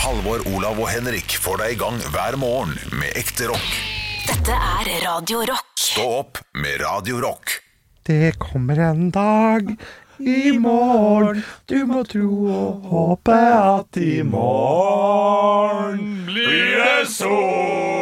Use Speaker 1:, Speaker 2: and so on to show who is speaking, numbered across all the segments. Speaker 1: Halvor, Olav og Henrik får deg i gang hver morgen med ekte rock.
Speaker 2: Dette er Radio Rock.
Speaker 1: Stå opp med Radio Rock.
Speaker 3: Det kommer en dag i morgen, du må tro og håpe at i morgen blir det sol.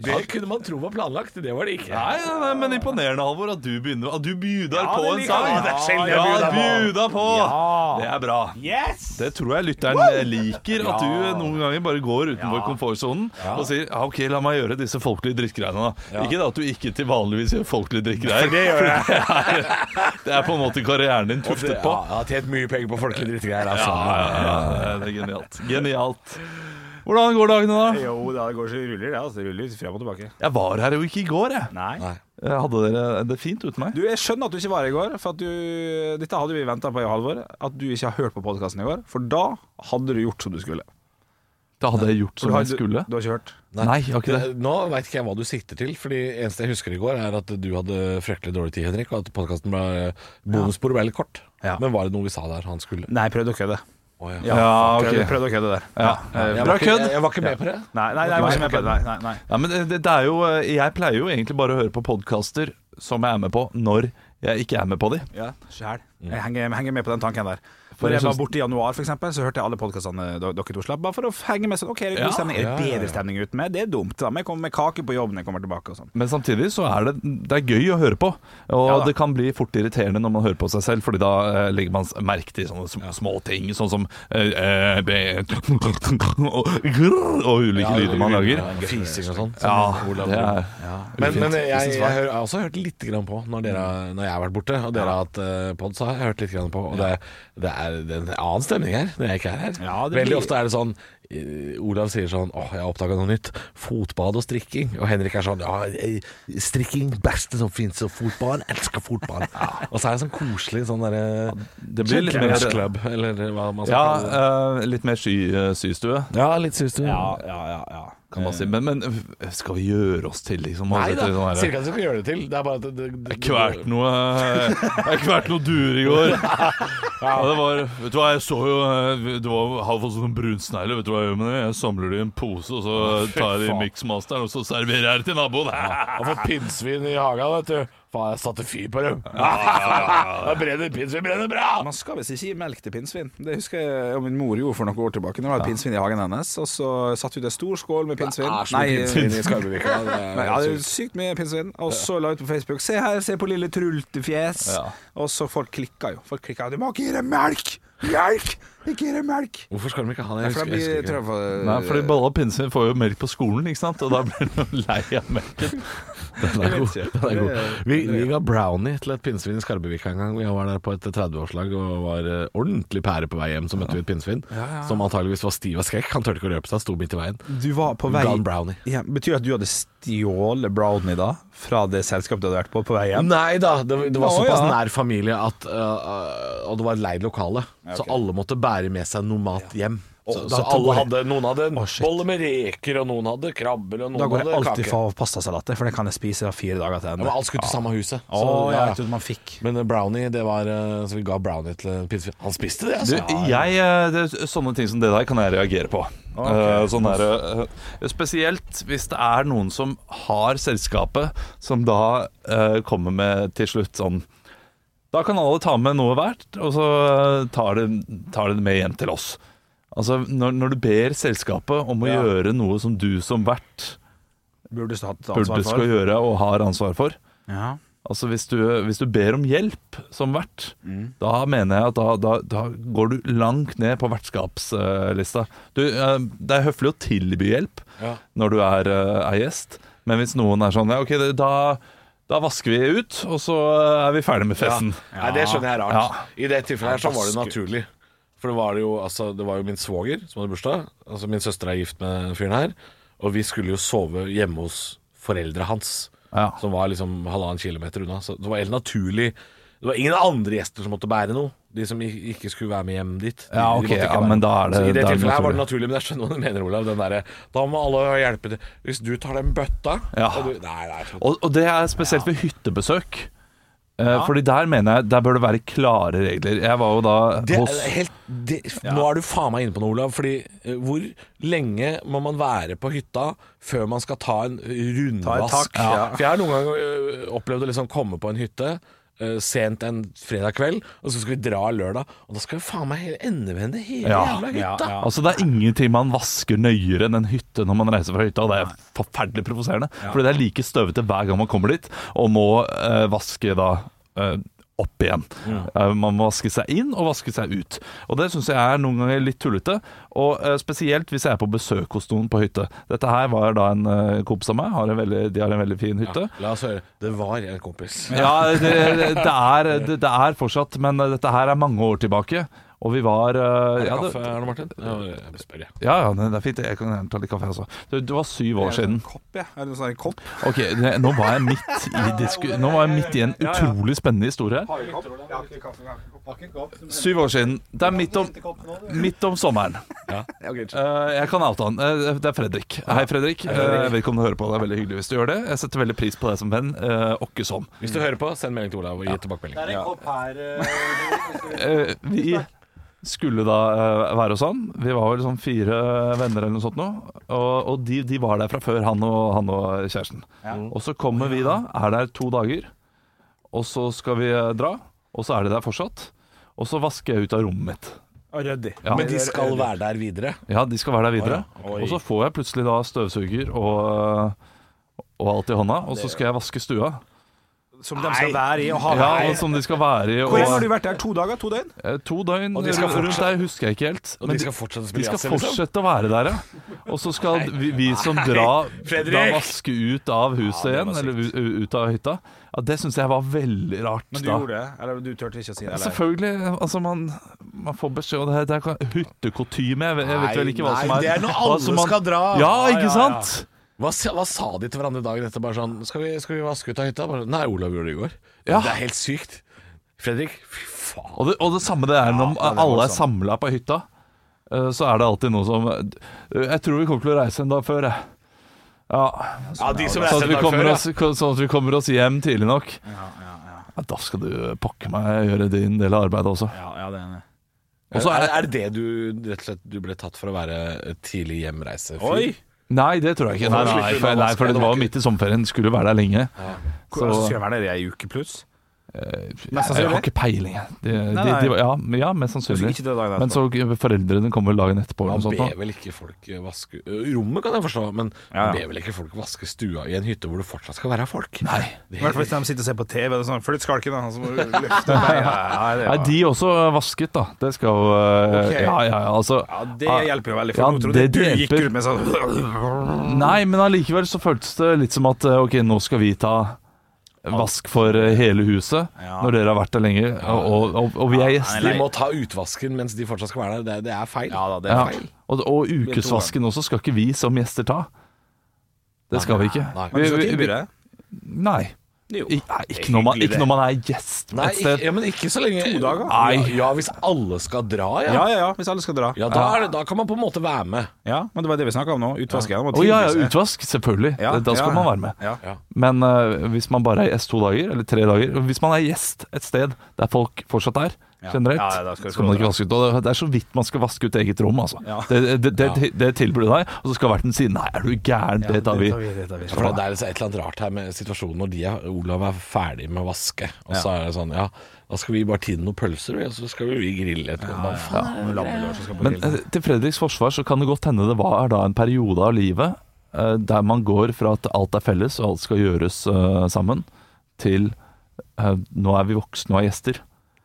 Speaker 4: Det kunne man tro var planlagt, det var det ikke.
Speaker 5: Nei, nei, nei, men imponerende, Halvor, at du begynner At du bjuder
Speaker 4: Ja,
Speaker 5: på
Speaker 4: det
Speaker 5: en
Speaker 4: liker
Speaker 5: sang.
Speaker 4: jeg. Det er sjelden jeg
Speaker 5: ja,
Speaker 4: bjuder på.
Speaker 5: bjuder på.
Speaker 4: Ja.
Speaker 5: Det er bra.
Speaker 4: Yes!
Speaker 5: Det tror jeg lytteren liker, at du noen ganger bare går utenfor komfortsonen og sier ja, OK, la meg gjøre disse folkelige drikkegreiene, da. Ikke da at du ikke til vanligvis gjør folkelige drikkegreier.
Speaker 4: Det gjør jeg.
Speaker 5: Det er på en måte karrieren din
Speaker 4: Ja,
Speaker 5: tuftet
Speaker 4: jeg
Speaker 5: på.
Speaker 4: har tjent mye penger på folkelige drittgreier,
Speaker 5: Ja,
Speaker 4: altså.
Speaker 5: ja, ja, det er genialt. Genialt. Hvordan går dagene, da?
Speaker 6: Jo, da går så det ruller det, altså. Det ruller frem og tilbake.
Speaker 5: Jeg var her jo ikke i går, jeg.
Speaker 6: Nei.
Speaker 5: jeg hadde dere det fint uten meg?
Speaker 6: Du, Jeg skjønner at du ikke var her i går, for at du, dette hadde vi venta på i halvår. At du ikke har hørt på podkasten i går, for da hadde du gjort som du skulle.
Speaker 5: Da hadde jeg gjort
Speaker 6: Du
Speaker 5: som
Speaker 6: har-
Speaker 5: jeg skulle.
Speaker 6: Du, du har ikke hørt?
Speaker 5: Nei, jeg har ikke det.
Speaker 4: Eh, Nå veit ikke jeg hva du sikter til, for det eneste jeg husker i går, er at du hadde fryktelig dårlig tid, Henrik, og at podkasten ble bonussporet ble litt kort.
Speaker 6: Ja.
Speaker 4: Men var det noe vi sa der han skulle?
Speaker 6: Nei, prøvde å kødde.
Speaker 4: Å, ja.
Speaker 6: Ja,
Speaker 5: Ja, ok.
Speaker 6: prøvde, prøvde å kødde der.
Speaker 5: Ja.
Speaker 6: Eh,
Speaker 4: Jeg
Speaker 5: Bra
Speaker 4: var, ikke,
Speaker 5: kødd.
Speaker 4: jeg, jeg var ikke med på det.
Speaker 6: Nei, nei, nei, jeg var ikke med på det. Nei, nei, nei.
Speaker 5: Ja, men det, det er jo, eh, jeg pleier jo egentlig bare å høre på podkaster som jeg er med på, når jeg ikke er med på de.
Speaker 6: Ja, sjæl. Jeg henger, jeg henger med på den tanken der.
Speaker 5: For
Speaker 6: Når
Speaker 5: jeg
Speaker 6: jeg var
Speaker 5: synes-
Speaker 6: borte i januar, for eksempel, så hørte jeg alle podkastene dere to slapp, bare for å henge med sånn OK, er det
Speaker 5: Ja,
Speaker 6: god stemning? Er det
Speaker 4: ja, ja, ja.
Speaker 6: bedre stemning ute med? Det er dumt. Da. Men jeg kommer med kake på jobb når jeg kommer tilbake og sånn.
Speaker 5: Men samtidig så er det, det er gøy å høre på. Og
Speaker 6: Ja da.
Speaker 5: det kan bli fort irriterende når man hører på seg selv, Fordi da eh, legger man merke til sånne sm små ting, sånn som eh, eh, be- og, grrr, og ulike lyder man lager.
Speaker 4: Ja, Fising og sånn. som
Speaker 5: Ja,
Speaker 4: Olav
Speaker 5: det
Speaker 4: gjorde.
Speaker 5: er
Speaker 4: Men, men jeg, jeg, hører- jeg har også hørt litt grann på når, dere, når jeg har vært borte, og dere har hatt uh, pod, så har jeg hørt litt grann på. Og det, det, er, det er en annen stemning her når jeg ikke er her.
Speaker 6: Ja, det
Speaker 4: Veldig
Speaker 6: blir-
Speaker 4: ofte er det sånn eh, Olav sier sånn Åh, jeg har oppdaga noe nytt. Fotbad og strikking. Og Henrik er sånn Ja, eh, strikking, beste som fins, og fotball. Elsker fotball. Og så er det sånn koselig sånn derre
Speaker 5: Det blir litt mer,
Speaker 4: club, eller hva man
Speaker 5: ja,
Speaker 4: skal kalle det.
Speaker 5: eh, litt mer sky, eh, systue.
Speaker 4: Ja, litt syns du.
Speaker 6: Ja, ja, ja, ja.
Speaker 5: Kan
Speaker 4: Eh.
Speaker 5: man si. men, men øh, skal vi gjøre oss til, liksom?
Speaker 4: Nei
Speaker 5: Altså,
Speaker 4: da,
Speaker 5: til sånn her-
Speaker 4: sier ikke at du skal gjøre det til. Det er bare at det, det, det,
Speaker 5: Jeg kvært noe eh, Jeg kvært noe duer i går. Ja, det var, vet du hva, jeg så jo eh, Du var, har fått sånne brunsnegler. Vet du hva jeg gjør med det? Jeg samler det i en pose, og så tar jeg det i miksmasteren, og så serverer jeg det til naboen.
Speaker 4: Han får pinnsvin i hagen, vet du. Faen, jeg satte fyr på dem. Da brenner pinnsvin brenner bra!
Speaker 6: Man skal visst ikke gi melk til pinnsvin. Det husker jeg og min mor gjorde for noen år tilbake. Når det var pinnsvin i hagen hennes, og så satte hun ut en stor skål med pinnsvin. Nei,
Speaker 4: i Skarbevika. det er
Speaker 6: men, ja,
Speaker 4: helt
Speaker 6: det er
Speaker 4: sykt.
Speaker 6: sykt mye pinnsvin. Og så la ut på Facebook 'Se her, se på lille trultefjes'.
Speaker 5: Ja.
Speaker 6: Og så folk klikka jo. Folk klikka 'Du må ikke gi det melk! Melk! Ikke gi det melk!'
Speaker 4: Hvorfor skal de ikke ha det? Jeg
Speaker 6: For
Speaker 4: husker,
Speaker 6: da blir
Speaker 4: jeg husker ikke.
Speaker 6: trøffel-
Speaker 5: Nei, fordi Balla Pinnsvin får jo melk på skolen, ikke sant? og da blir han jo lei av melken.
Speaker 4: Den er god. Den er god. Vi, vi ga brownie til et pinnsvin i Skarbevika en gang. Jeg var der på et 30-årslag og var eh, ordentlig pære på vei hjem, så møtte vi et pinnsvin som antageligvis var stiv av skrekk. Han turte ikke å røpe seg, sto midt i veien.
Speaker 6: Du var på vei
Speaker 4: Ga han brownie.
Speaker 6: Ja, Betyr det at du hadde stjålet brownie da? Fra det selskapet du hadde vært på på vei hjem?
Speaker 4: Nei da, det, det var
Speaker 6: Å,
Speaker 4: såpass
Speaker 6: ja.
Speaker 4: nær familie at øh, Og det var et leid lokale, så alle måtte bære med seg noe mat hjem. Så, så
Speaker 6: da tror
Speaker 4: alle
Speaker 6: jeg-
Speaker 4: hadde, noen hadde en
Speaker 6: Å, shit.
Speaker 4: bolle med reker, og noen hadde krabber, og noen
Speaker 6: Da går jeg
Speaker 4: hadde
Speaker 6: alltid
Speaker 4: kake.
Speaker 6: for pastasalater, for det kan jeg spise av fire dager til
Speaker 4: Ja, men
Speaker 6: ende.
Speaker 4: alt skulle til samme huset.
Speaker 6: Å,
Speaker 4: Så,
Speaker 6: ja,
Speaker 4: ja,
Speaker 6: jeg trodde man fikk.
Speaker 4: ja. Men øh, brownie, det var øh, Så vi ga brownie til en pinnsvin. Han spiste det,
Speaker 5: Du,
Speaker 4: altså.
Speaker 5: jeg, eh, det, sånne ting som det der kan jeg reagere på. Eh, sånn der, eh, spesielt hvis det er noen som har selskapet, som da eh, kommer med til slutt sånn Da kan alle ta med noe hvert, og så eh, tar de, tar de det med hjem til oss. Altså, når, når du ber selskapet om å gjøre noe som du som vert
Speaker 6: Burde du hatt
Speaker 5: burde
Speaker 6: ansvar
Speaker 5: skal
Speaker 6: for?
Speaker 5: gjøre og har ansvar for
Speaker 6: Ja.
Speaker 5: Altså hvis du, hvis du ber om hjelp som vert,
Speaker 4: Mm.
Speaker 5: da mener jeg at da, da, da går du langt ned på vertskapslista. Du, eh, det er høflig å tilby hjelp
Speaker 4: Ja.
Speaker 5: når du er, eh, er gjest, men hvis noen er sånn ja, OK, det- da, da vasker vi ut, og så eh, er vi ferdig med festen.
Speaker 4: Nei, det skjønner jeg er rart.
Speaker 5: Ja.
Speaker 4: I det tilfellet her så var det naturlig. For det var det jo, altså, det var jo min svoger som hadde bursdag. Altså Min søster er gift med den fyren her. Og vi skulle jo sove hjemme hos foreldra hans,
Speaker 5: Ja.
Speaker 4: som var liksom halvannen kilometer unna. Så det var helt naturlig. Det var ingen andre gjester som måtte bære noe. De som ik- ikke skulle være med hjem dit. De,
Speaker 5: Ja,
Speaker 4: de
Speaker 5: ok,
Speaker 4: måtte ikke
Speaker 5: ja,
Speaker 4: være
Speaker 5: men
Speaker 4: med.
Speaker 5: da er det-
Speaker 4: så I det
Speaker 5: da er det
Speaker 4: tilfellet her var det naturlig, men jeg skjønner hva du mener, Olav. Den derre Da må alle hjelpe til. Hvis du tar den bøtta
Speaker 5: Ja.
Speaker 4: og du, Nei, nei.
Speaker 5: Og, og det er spesielt ved hyttebesøk. Eh, Fordi der mener jeg Der bør det være klare regler. Jeg var jo da
Speaker 4: Det er
Speaker 5: hos
Speaker 4: helt, det, Nå er du faen meg inne på noe, Olav. Fordi eh, hvor lenge må man være på hytta før man skal ta en rundvask?
Speaker 6: tak, ja.
Speaker 4: For jeg har noen ganger eh, opplevd å liksom komme på en hytte eh, sent en fredag kveld, og så skal vi dra lørdag, og da skal vi faen meg hele- endevende hele
Speaker 5: Ja.
Speaker 4: jævla hytta!
Speaker 5: Altså Det er ingenting man vasker nøyere enn en hytte når man reiser fra hytta, og det er forferdelig provoserende. Fordi det er like støvete hver gang man kommer dit, og må eh, vaske da eh, opp igjen. Eh, man må vaske seg inn og vaske seg ut. Og det syns jeg er noen ganger litt tullete. Og eh, spesielt hvis jeg er på besøk hos noen på hytte. Dette her var da en eh, kompis av meg, har en veldig, de har en veldig fin hytte.
Speaker 4: La oss høre. Det var en kompis.
Speaker 5: Ja, det, det, er, det, det er fortsatt, men dette her er mange år tilbake. Og vi var eh, ja, det,
Speaker 4: Kaffe, Arne Martin? Ja, jeg spør, jeg.
Speaker 5: ja, ja, det er fint. Jeg kan gjerne ta litt kaffe, jeg også. Det, det var syv år siden.
Speaker 6: Kopp, ja. Er det noe sånn kopp?
Speaker 5: Ok, det, Nå var jeg midt i, disku, nå var jeg midt i en utrolig spennende historie her. Syv år siden. Det er midt om, midt om sommeren. Eh, jeg kan oute han. Eh, det er Fredrik. Hei, Fredrik. Eh, jeg vet ikke om du hører på. Det er veldig hyggelig hvis du gjør det. Jeg setter veldig pris på deg som venn. Uh, åkke som.
Speaker 4: Hvis du hører på, send melding til Olav og gi tilbakemelding.
Speaker 5: Eh, vi skulle da eh, være hos han. Vi var vel sånn fire venner eller noe sånt nå. Og, og de, de var der fra før, han og, han og kjæresten. Og så kommer vi da, er der to dager. Og så skal vi eh, dra, og så er de der fortsatt. Og så vasker jeg ut av rommet mitt.
Speaker 6: Og ryddig.
Speaker 5: Ja.
Speaker 4: Men de skal være der videre.
Speaker 5: Ja, de skal være der videre.
Speaker 4: Å, ja. Oi.
Speaker 5: Og så får jeg plutselig da støvsuger og, og alt i hånda, og så skal jeg vaske stua.
Speaker 6: Som de skal være i og ha
Speaker 5: Ja,
Speaker 6: med.
Speaker 5: og som de skal være i.
Speaker 6: Hvor lenge har du
Speaker 5: Og,
Speaker 6: vært der? To dager? To døgn?
Speaker 5: eh, to døgn
Speaker 4: Og de skal
Speaker 5: rundt
Speaker 4: fortsatt-
Speaker 5: der husker jeg ikke helt.
Speaker 4: Og
Speaker 5: men
Speaker 4: de skal fortsette å
Speaker 5: De
Speaker 4: spille
Speaker 5: skal
Speaker 4: jazz. liksom.
Speaker 5: fortsette å være der, ja. Og så skal vi, vi som drar
Speaker 4: Fredrik!
Speaker 5: da vaske ut av huset igjen, eller u- ut av hytta, ja, det syns jeg var veldig rart.
Speaker 6: Men du
Speaker 5: da.
Speaker 6: gjorde det? Eller du turte ikke å si det?
Speaker 5: Ja,
Speaker 6: Eller?
Speaker 5: Selvfølgelig. Altså, man, man får beskjed om det her. Det er ikke- hyttekutyme. Jeg, vet- jeg vet vel ikke hva
Speaker 4: Nei,
Speaker 5: som er
Speaker 4: det er når
Speaker 5: hva
Speaker 4: alle
Speaker 5: som man-
Speaker 4: skal dra.
Speaker 5: Ja,
Speaker 4: Ja, ja,
Speaker 5: ikke
Speaker 4: ja.
Speaker 5: sant?
Speaker 4: Hva, sa- hva sa de til hverandre dagen etter? Bare sånn Skal vi, skal vi vaske ut av hytta? Bare, Nei, Olav gjorde det i går.
Speaker 5: Ja.
Speaker 4: Det er helt sykt. Fredrik, fy faen.
Speaker 5: Og det, og det samme det er når alle er samla på hytta. eh, Så er det alltid noe som eh, Jeg tror vi kommer til å reise en dag før, jeg. Ja,
Speaker 4: Ja, de som
Speaker 5: Sånn at,
Speaker 4: reiser
Speaker 5: vi
Speaker 4: en dag
Speaker 5: kommer
Speaker 4: før,
Speaker 5: oss, sånn at vi kommer oss hjem tidlig nok. Ja, da skal du pokker meg gjøre din del av arbeidet også.
Speaker 6: Ja, ja, det er enig.
Speaker 4: Og så er, er det det du rett og slett du ble tatt for å være tidlig hjemreisefyr?
Speaker 6: Oi!
Speaker 5: Nei, det tror jeg ikke. Nei, nei, for, nei, for det var jo midt i sommerferien. Skulle jo være der lenge.
Speaker 6: Hvor, altså, skal jeg være der i ei uke pluss?
Speaker 5: Jeg jeg har ikke peiling. jeg. De, de,
Speaker 6: nei.
Speaker 5: de, ja, men- ja, mest sannsynlig.
Speaker 6: Ikke det altså. dagen
Speaker 5: Men så foreldrene kommer vel dagen etterpå.
Speaker 4: Man
Speaker 6: Sånn,
Speaker 4: ber
Speaker 5: Eller noe sånt, da.
Speaker 4: vel ikke folk vaske Ø, Rommet kan jeg forstå, men
Speaker 6: Ja, ja.
Speaker 4: man ber vel ikke folk vaske stua i en hytte hvor det fortsatt skal være folk?
Speaker 5: Nei.
Speaker 6: I hvert fall hvis de sitter og ser på TV. Det er sånn, Flytt skalken, da! og Så må du løfte opp beina. Ja, det,
Speaker 5: Nei,
Speaker 6: var-
Speaker 5: de også vasket, da. Det skal jo eh,
Speaker 6: Ok.
Speaker 5: Ja, ja, ja, altså.
Speaker 6: ja, det hjelper jo veldig. For
Speaker 5: Ja,
Speaker 6: nå trodde jeg
Speaker 5: det
Speaker 6: du gikk
Speaker 5: hjelper.
Speaker 6: ut med sånn
Speaker 5: Nei, men allikevel så føltes det litt som at eh, ok, nå skal vi ta vask for eh, hele huset
Speaker 6: Ja.
Speaker 5: når dere har vært der lenge, og, og, og, og vi er
Speaker 4: De
Speaker 5: gjester.
Speaker 4: må ta utvasken mens de fortsatt skal være der. Det, det er feil.
Speaker 6: Ja da, det er
Speaker 5: Ja.
Speaker 6: feil.
Speaker 5: Og, og ukesvasken også skal ikke vi som gjester ta. Det skal vi ikke.
Speaker 6: Men du skal
Speaker 5: Vi- vi-
Speaker 6: tilby det?
Speaker 5: Nei.
Speaker 6: Jo.
Speaker 5: Ik nei, ikke, når man,
Speaker 6: hyggelig,
Speaker 5: ikke når man er gjest
Speaker 4: Nei,
Speaker 5: et
Speaker 4: ikke,
Speaker 5: sted.
Speaker 4: ja, men ikke så lenge
Speaker 6: To dager?
Speaker 4: Nei. Ja, ja, hvis alle skal dra, ja.
Speaker 6: Ja, ja, ja. Hvis alle skal dra.
Speaker 4: Ja, da, er det, da kan man på en måte være med.
Speaker 6: Ja, men det var det vi snakka om nå. Utvask igjen.
Speaker 5: Å ja, ja, utvask, selvfølgelig.
Speaker 6: Ja,
Speaker 5: da
Speaker 6: ja.
Speaker 5: skal man være med.
Speaker 6: Ja.
Speaker 5: Men eh, hvis man bare er gjest to dager, eller tre dager og Hvis man er gjest et sted der folk fortsatt er, generelt,
Speaker 6: Ja, ja, da skal
Speaker 5: så
Speaker 6: du
Speaker 5: skal man
Speaker 6: få dra.
Speaker 5: ikke vaske ut. Og det- det er så vidt man skal vaske ut eget rom, altså.
Speaker 6: Ja.
Speaker 5: Det, det, det, det tilbyr du deg, og så skal verten si 'nei, er du gæren, det tar vi'.
Speaker 4: For det er liksom et eller annet rart her med situasjonen når de er, Olav er ferdig med å vaske, og så er det sånn Ja, da skal vi bare tine noen pølser, vi, og så skal vi grille etterpå. Hva faen er det?
Speaker 5: Men eh, til Fredriks forsvar så kan det godt hende det var da en periode av livet eh, der man går fra at alt er felles og alt skal gjøres eh, sammen, til eh, nå er vi voksne og er gjester.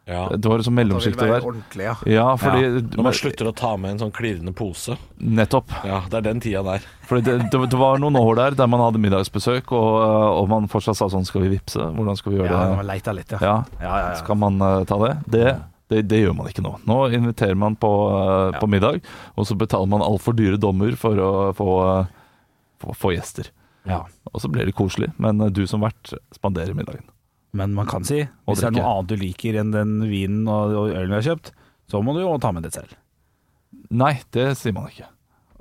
Speaker 4: Ja.
Speaker 5: Det var liksom mellomsjiktet der.
Speaker 6: Ordentlig, ja.
Speaker 5: Ja, fordi
Speaker 4: Når man slutter å ta med en sånn klirrende pose.
Speaker 5: Nettopp.
Speaker 4: Ja, det er den tida der.
Speaker 5: Fordi det, det, det var noen år der der man hadde middagsbesøk, og, eh, og man fortsatt sa sånn Skal vi vippse? Hvordan skal vi gjøre
Speaker 6: Ja,
Speaker 5: det?
Speaker 6: man leita litt, ja.
Speaker 5: Ja,
Speaker 6: Ja, ja, ja.
Speaker 5: Skal man eh, ta det? Det, det? det gjør man ikke nå. Nå inviterer man på, eh, på middag, og så betaler man altfor dyre dommer for å få, eh, få, få gjester.
Speaker 6: Ja.
Speaker 5: Og så blir det koselig, men eh, du som vert spanderer middagen.
Speaker 6: Men man kan si hvis det er noe
Speaker 5: drikke.
Speaker 6: annet du liker enn den vinen og, og ølen vi har kjøpt, så må du jo ta med det selv.
Speaker 5: Nei, det sier man ikke.